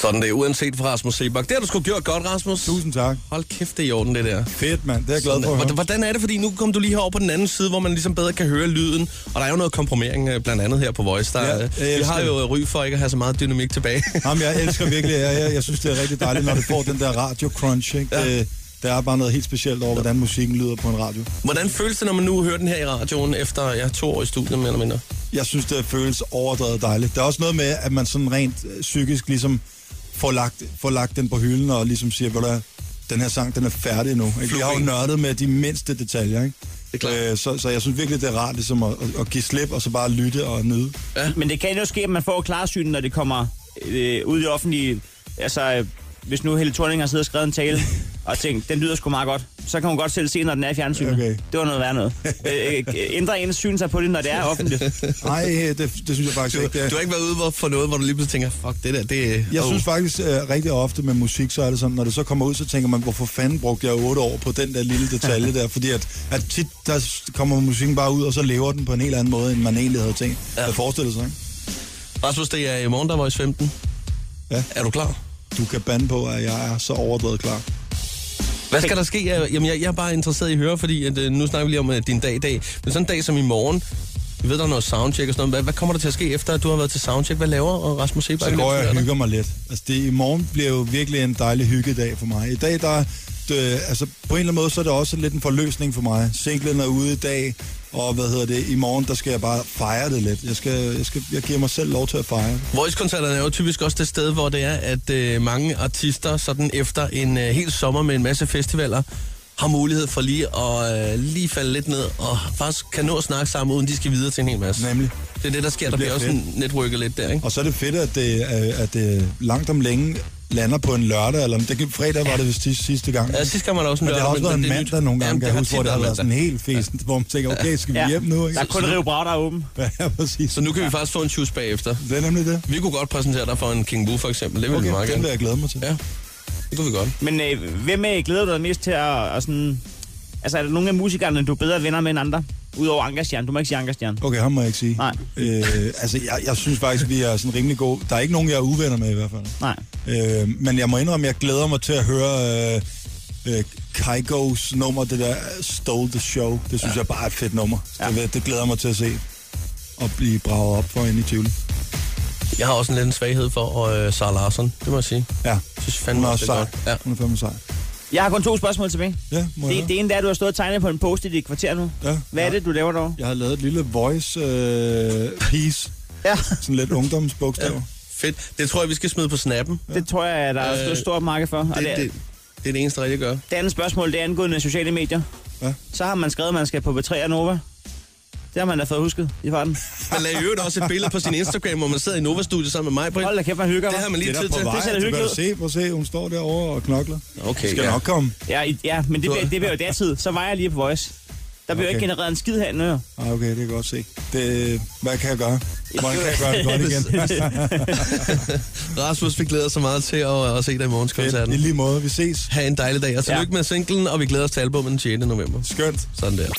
Sådan det, uanset fra Rasmus Sebak. Det har du sgu gjort godt, Rasmus. Tusind tak. Hold kæft, det er i orden, det der. Fedt, mand. Det er jeg glad for. at Hvordan- høre. Hvordan er det? Fordi nu kom du lige herover på den anden side, hvor man ligesom bedre kan høre lyden. Og der er jo noget kompromering, øh, blandt andet her på Voice. Der, Ja, jeg ja, vi elsker har jo øh, ry for ikke at have så meget dynamik tilbage. Jamen, jeg elsker virkelig jer. Jeg, jeg synes, det er rigtig dejligt, når du får den der radio-crunch. Ikke? Ja. Det, der er bare noget helt specielt over, hvordan musikken lyder på en radio. Hvordan føles det, når man nu hører den her i radioen efter ja, to år i studiet, mere eller mindre? Jeg synes, det føles overdrevet dejligt. Der er også noget med, at man sådan rent øh, psykisk ligesom får lagt, får lagt den på hylden og ligesom siger, ved du hvad den her sang, den er færdig nu. Ikke? Jeg har jo Flueben. nørdet med de mindste detaljer, ikke? Det er klart. Øh, så, så jeg synes virkelig, det er rart ligesom at, at- at give slip og så bare lytte og nyde. Men det kan jo ske, at man får klarsyn, når det kommer øh, ud i det offentlige. Altså, øh, hvis nu Helle Thorning har siddet og skrevet en tale, og tænkt, den lyder sgu meget godt, så kan hun godt selv se, når den er i fjernsynet. Okay. Det var noget værre noget. Øh, øh, ændrer ens syn sig på det, når det er offentligt. Nej, det, det synes jeg faktisk Du, ikke. det er- du har ikke været ude hvor- for noget, hvor du lige pludselig tænker, fuck det der, det er... Jeg oh. synes faktisk øh, rigtig ofte med musik, så er det sådan, når det så kommer ud, så tænker man, hvorfor fanden brugte jeg otte år på den der lille detalje der? Fordi at, at tit, der s- kommer musikken bare ud, og så lever den på en helt anden måde, end man egentlig havde tænkt. Ja. Ja. Jeg forestillede sig, ikke? Rasmus, det er i morgen, der er Voice 15. Ja. Er du klar? Du kan bande på, at jeg er så overdrevet klar. Hvad skal der ske? Jeg- Jamen, jeg, jeg er bare interesseret i at høre, fordi at, øh, nu snakker vi lige om øh, din dag i dag. Men sådan en dag som i morgen, vi ved, der er noget soundcheck og sådan noget. Hvad, hvad kommer der til at ske efter, at du har været til soundcheck? Hvad laver og Rasmus Sebak? Så går jeg og imens? hygger mig lidt. Altså, det, i morgen bliver jo virkelig en dejlig hyggedag for mig. I dag, der, det, altså, på en eller anden måde, så er det også lidt en forløsning for mig. Singlen er ude i dag, og hvad hedder det, i morgen, der skal jeg bare fejre det lidt. Jeg, skal, jeg, skal, jeg giver mig selv lov til at fejre. Voice-koncerterne er jo typisk også det sted, hvor det er, at øh, mange artister sådan efter en øh, hel sommer med en masse festivaler, har mulighed for lige at øh, lige falde lidt ned og faktisk kan nå at snakke sammen, uden de skal videre til en hel masse. Nemlig. Det er det, der sker. der bliver bliver også fedt. sådan networket lidt der, ikke? Og så er det fedt, at det, øh, at det langt om længe lander på en lørdag, eller det, kan- fredag var det vist sidste, sidste gang. Ja, sidste gang var der også en men det har lørdag, også været men- en men det er mandag nyt. nogle gange, Jamen, det kan jeg har huske, hvor tit det har været været sådan helt fesen, hvor man tænker, okay, skal vi hjem nu? Ikke? Der er kun rive bra, der er åben. Ja, præcis. Så nu kan vi faktisk få en shoes bagefter. Det er nemlig det. Vi kunne godt præsentere dig for en King Boo, for eksempel. Det ville vi meget Okay, den gerne. vil jeg glæde mig til. Ja, det kunne vi godt. Men øh, hvem øh, glæder du dig mest til at, at sådan... Altså, er der nogle af musikerne, du er bedre venner med end andre? Udover Ankerstjern. Du må ikke sige Ankerstjern. Okay, ham må jeg ikke sige. Nej. Øh, altså, jeg, jeg synes faktisk, vi er sådan rimelig gode. Der er ikke nogen, jeg er uvenner med i hvert fald. Nej. Øh, men jeg må indrømme, jeg glæder mig til at høre øh, øh, Kygo's nummer, det der Stole the Show. Det synes ja. jeg bare er et fedt nummer. Ja. Det, ved jeg, det glæder jeg mig til at se og blive braget op for ind i Tivoli. Jeg har også en lille svaghed for øh, Sara Larsson, det må jeg sige. Ja, Jeg synes hun fandme er også, det også er sej. godt. Ja. Hun er fandme sej. Jeg har kun to spørgsmål tilbage. Ja, må jeg Det, det ene der, du har stået og tegnet på en post i dit kvarter nu. høre? ja. Hvad er det, du laver derovre? Jeg har lavet et lille voice øh, piece. Ja. Sådan lidt ungdomsbogstaver. Ja. Fedt. Det tror jeg, vi skal smide på snappen. Det tror jeg, at der er Øh, et stort marked for. Og Det, det, det, det, det er det eneste, der rigtig gør. det andet spørgsmål, det er angående sociale medier. Ja. Så har man skrevet, at man skal på B3 og Nova. Det har man da fået husket i farten. Han lagde i øvrigt også et billede på sin Instagram, hvor man sidder i Nova-studiet sammen med mig, Britt. Hold da kæft, man hygger, Det har hva'? man lige Det er tid der på til. vej. ser da du kan hyggeligt jo se, prøv at se, hun står derovre og knokler. Okay, skal ja. nok komme. Ja, i- ja men det, bliver, det bliver jo datid. Så var jeg lige på Voice. Der bliver jo Okay. ikke genereret en skid her nu. jo. Ah, okay, det kan jeg godt se. Det, hvad kan jeg gøre? Hvordan kan jeg gøre det godt igen? Rasmus, vi glæder os så meget til at, at se dig i I morgenskoncerten. lige måde, vi ses. Ha' en dejlig dag, og tillykke Ja. med singlen, og vi glæder os til albumet den 6. november. Skønt. Sådan der.